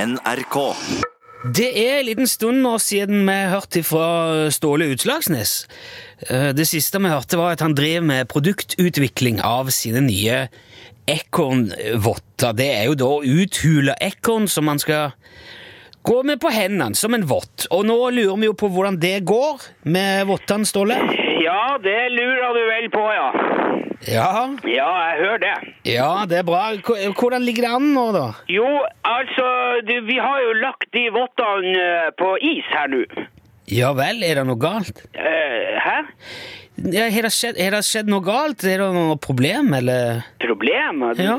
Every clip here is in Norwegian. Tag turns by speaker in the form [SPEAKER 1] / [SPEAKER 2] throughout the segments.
[SPEAKER 1] NRK.
[SPEAKER 2] Det er en liten stund nå siden vi hørte fra Ståle Utslagsnes. Eh, Det siste vi hørte, var at han drev med produktutvikling av sine nye ekornvotter. Det er jo da uthula ekorn som man skal gå med på hendene, som en vott. Og nå lurer vi jo på hvordan det går med vottene, Ståle.
[SPEAKER 3] Ja, det lurer du vel på, ja.
[SPEAKER 2] Ja,
[SPEAKER 3] Ja, jeg hører det.
[SPEAKER 2] ja, det er bra. Hvor- Hvordan ligger det an nå, da?
[SPEAKER 3] Jo, altså, du, vi har jo lagt de vottene eh, på is her nå.
[SPEAKER 2] Ja vel, er det noe galt?
[SPEAKER 3] Eh, hæ?
[SPEAKER 2] Ja, har, det skjedd, har det skjedd noe galt? Er det noe problem, eller?
[SPEAKER 3] Problem?
[SPEAKER 2] Ja.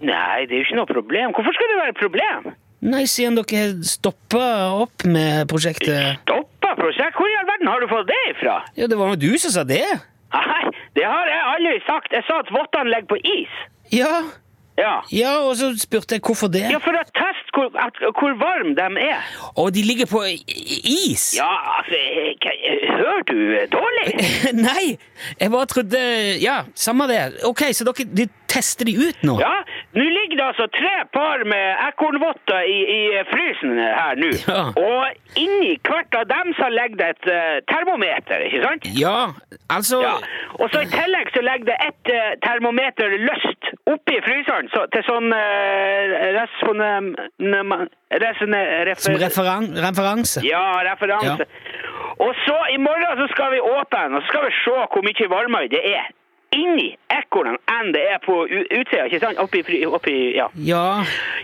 [SPEAKER 3] Nei, det er jo ikke noe problem. Hvorfor skal det være et problem?
[SPEAKER 2] Nei, siden dere stoppa opp med prosjektet
[SPEAKER 3] Stoppa prosjekt? Hvor i all verden har du fått det ifra?
[SPEAKER 2] Ja, det var jo du som sa det?
[SPEAKER 3] Nei, det har jeg aldri sagt. Jeg sa at vottene ligger på is.
[SPEAKER 2] Ja,
[SPEAKER 3] Ja.
[SPEAKER 2] ja, og så spurte jeg hvorfor det.
[SPEAKER 3] Ja, for å teste hvor, at, hvor varm de er.
[SPEAKER 2] Og de ligger på i- i- is!
[SPEAKER 3] Ja, altså, eh, hva- hører du eh, dårlig?
[SPEAKER 2] Nei, jeg bare trodde Ja, samme det. Ok, så dere de tester de ut nå?
[SPEAKER 3] Ja, nå ligger det altså tre par med ekornvotter i, i frysen her nå.
[SPEAKER 2] Ja.
[SPEAKER 3] Og inni hvert av dem så ligger det et eh, termometer, ikke sant?
[SPEAKER 2] Ja, altså
[SPEAKER 3] Ja. Og så i tillegg så legger det et eh, termometer løst oppi fryseren så, til sånn eh, resonem... nem- resone- refer-
[SPEAKER 2] Som referan referanse?
[SPEAKER 3] Ja, referanse. Og så i morgen så skal vi åpne, og så skal vi se hvor mye varmere det er inni ekornene enn det er på u- utsida, ikke sant? Oppi, fri- oppi ja.
[SPEAKER 2] Ja,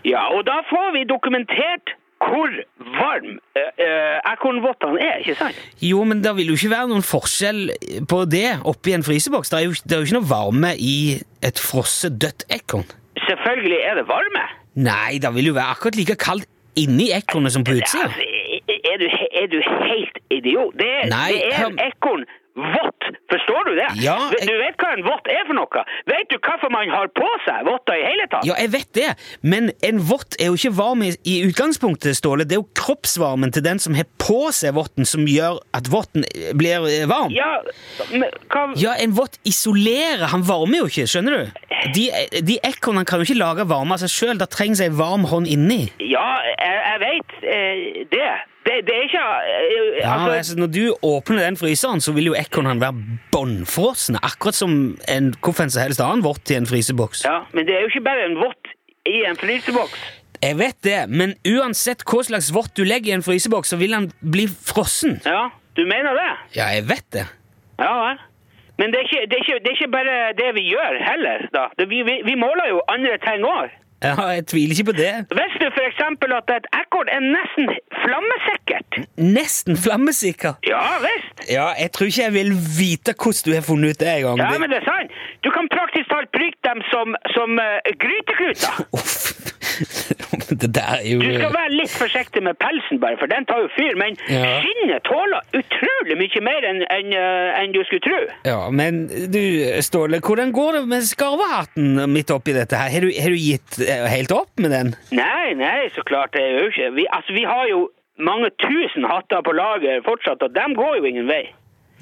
[SPEAKER 3] ja. Og da får vi dokumentert hvor varm eh, eh, ekornvottene er, ikke sant?
[SPEAKER 2] Jo, men det vil jo ikke være noen forskjell på det oppi en fryseboks. Det er jo, det er jo ikke noe varme i et frosset dødt ekorn.
[SPEAKER 3] Selvfølgelig er det varme.
[SPEAKER 2] Nei, det vil jo være akkurat like kaldt inni ekornet som på utsida.
[SPEAKER 3] Altså, er, du, he- er du helt idiot? Det, er-
[SPEAKER 2] Nei,
[SPEAKER 3] det er en
[SPEAKER 2] hør-
[SPEAKER 3] ekorn vått. Forstår du det?
[SPEAKER 2] Ja,
[SPEAKER 3] Du-
[SPEAKER 2] jeg-
[SPEAKER 3] Du vet hva en vått er for noe? Vet du hvorfor man har på seg votter i hele tatt?
[SPEAKER 2] Ja, jeg vet det, men en vått er jo ikke varm i, i utgangspunktet, Ståle. Det er jo kroppsvarmen til den som har på seg votten, som gjør at votten eh, blir eh, varm.
[SPEAKER 3] Ja, men hva
[SPEAKER 2] Ja, en vått isolerer. Han varmer jo ikke, skjønner du? De, de ekornene kan jo ikke lage varme av seg sjøl. Det trengs ei varm hånd inni.
[SPEAKER 3] Ja, jeg, jeg veit eh, det. det. Det er ikke eh,
[SPEAKER 2] Ja,
[SPEAKER 3] altså,
[SPEAKER 2] altså, Når du åpner den fryseren, så vil jo ekornene være bånnfrosne. Akkurat som en hvorfor som helst annen vått i en fryseboks.
[SPEAKER 3] ja, Men det er jo ikke bare en vått i en fryseboks.
[SPEAKER 2] Jeg vet det, men uansett hva slags vått du legger i en fryseboks, så vil han bli frossen.
[SPEAKER 3] Ja, du mener det?
[SPEAKER 2] Ja, jeg vet det.
[SPEAKER 3] Ja vel. Men det er, ikke, det, er ikke, det er ikke bare det vi gjør heller, da. Det, vi, vi, vi måler jo andre ting òg.
[SPEAKER 2] Ja, jeg tviler ikke på det.
[SPEAKER 3] Visste du f.eks. at et ekorn er nesten flammesikkert?
[SPEAKER 2] Nesten flammesikker.
[SPEAKER 3] Ja visst!
[SPEAKER 2] Ja, jeg tror ikke jeg vil vite hvordan du har funnet ut det engang.
[SPEAKER 3] Ja, men det er sant. Du kan praktisk talt bruke dem som, som eh, grytekluter.
[SPEAKER 2] Uff. det der er jo
[SPEAKER 3] Du skal være litt forsiktig med pelsen, bare, for den tar jo fyr. Men
[SPEAKER 2] Ja.
[SPEAKER 3] skinnet tåler utrolig mye mer enn enn, eh, enn du skulle tro.
[SPEAKER 2] Ja, men du, Ståle, hvordan går det med skarvehatten midt oppi dette her? Har du, har du gitt eh, helt opp med den?
[SPEAKER 3] Nei, nei, så klart det er jo ikke vi, Altså, vi har jo mange tusen hatter på lager fortsatt, og dem går jo ingen vei.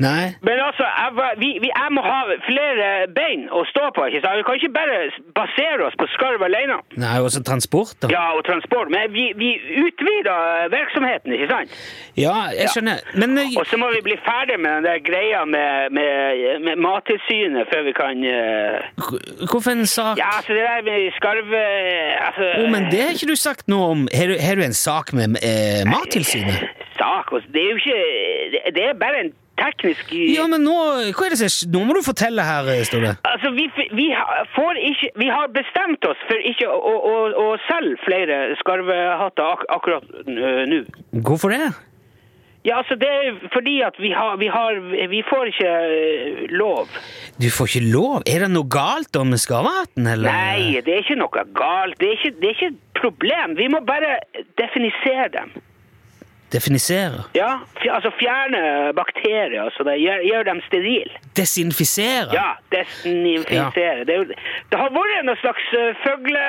[SPEAKER 2] Nei.
[SPEAKER 3] Men altså, jeg, var- vi, vi, jeg må ha flere bein å stå på, ikke sant? Vi kan ikke bare basere oss på skarv alene.
[SPEAKER 2] Nei, også transport, da.
[SPEAKER 3] Ja, og transport. Men vi, vi utvider virksomheten, ikke sant?
[SPEAKER 2] Ja, jeg skjønner. Men eh,
[SPEAKER 3] Og så må vi bli ferdig med den der greia med, med, med Mattilsynet før vi kan eh,
[SPEAKER 2] h- hvorfor en sak
[SPEAKER 3] Ja, altså det der med skarv eh, altså,
[SPEAKER 2] Jo, men det har ikke du sagt noe om. Har du, har du en sak med eh, Mattilsynet?
[SPEAKER 3] Sak altså, Det er jo ikke det- Det er bare en teknisk
[SPEAKER 2] Ja, men nå Hva er det som skj- Nå må du fortelle her, eh, Ståle.
[SPEAKER 3] Altså, vi, f- vi, har- får ikke, vi har bestemt oss for ikke å, å, å, å selge flere skarvehatter ak akkurat eh, nå.
[SPEAKER 2] Hvorfor det?
[SPEAKER 3] Ja, altså, det er fordi at vi har Vi, har, vi får ikke eh, lov.
[SPEAKER 2] Du får ikke lov. Er det noe galt da med skarvehatten, eller?
[SPEAKER 3] Nei, det er ikke noe galt. Det er ikke, det er ikke et problem. Vi må bare definisere dem.
[SPEAKER 2] Definisere.
[SPEAKER 3] Ja, Fj altså fjerne bakterier, så det gjør, gjør dem sterile.
[SPEAKER 2] Desinfisere.
[SPEAKER 3] Ja, desinfisere. Det, er jo- det har vært noe slags uh, fugle...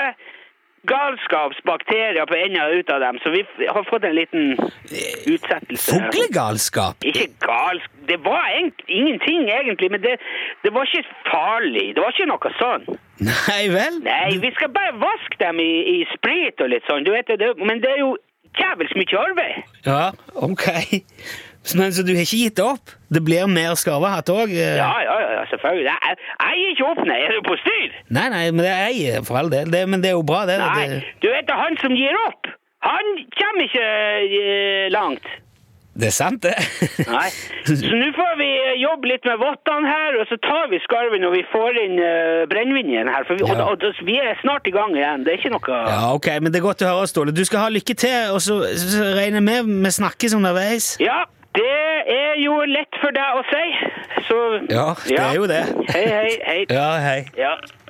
[SPEAKER 3] galskapsbakterier eh, på enden og ut av dem, så vi f- har fått en liten utsettelse. her.
[SPEAKER 2] Fuglegalskap?
[SPEAKER 3] Ikke galsk Det var egentlig ingenting, egentlig, men det, det var ikke farlig. Det var ikke noe sånn.
[SPEAKER 2] Nei vel?
[SPEAKER 3] Nei, vi skal bare vaske dem i, i sprit og litt sånn, du vet det. det- Men det er jo jævels mye arbeid.
[SPEAKER 2] Ja, ok. Men så du har ikke gitt opp? Det blir mer eh? skarvehatt òg?
[SPEAKER 3] Ja, ja, ja, ja, selvfølgelig. Jeg, jeg, jeg gir ikke opp, nei. Er du på styr?
[SPEAKER 2] Nei, nei, men det er jeg, eh, for all del. Det, men det er jo bra, det.
[SPEAKER 3] Nei,
[SPEAKER 2] Det,
[SPEAKER 3] du vet det er han som gir opp. Han kommer ikke eh, langt.
[SPEAKER 2] det er sant, det.
[SPEAKER 3] Nei. Så nå får vi eh, jobbe litt med vottene her, og så tar vi skarven når vi får inn uh, brennevin igjen her. For vi, og,
[SPEAKER 2] Ja.
[SPEAKER 3] og, og, vi er snart i gang igjen. Det er ikke noe Ja,
[SPEAKER 2] Ja, ok, men det er godt å høre, Ståle. Du skal ha lykke til, og så, så regner jeg med vi snakkes underveis.
[SPEAKER 3] det er jo lett for deg å si. Så
[SPEAKER 2] Ja, det er jo det.
[SPEAKER 3] Hei, hei, hei.
[SPEAKER 2] Ja, hei.
[SPEAKER 3] Ja.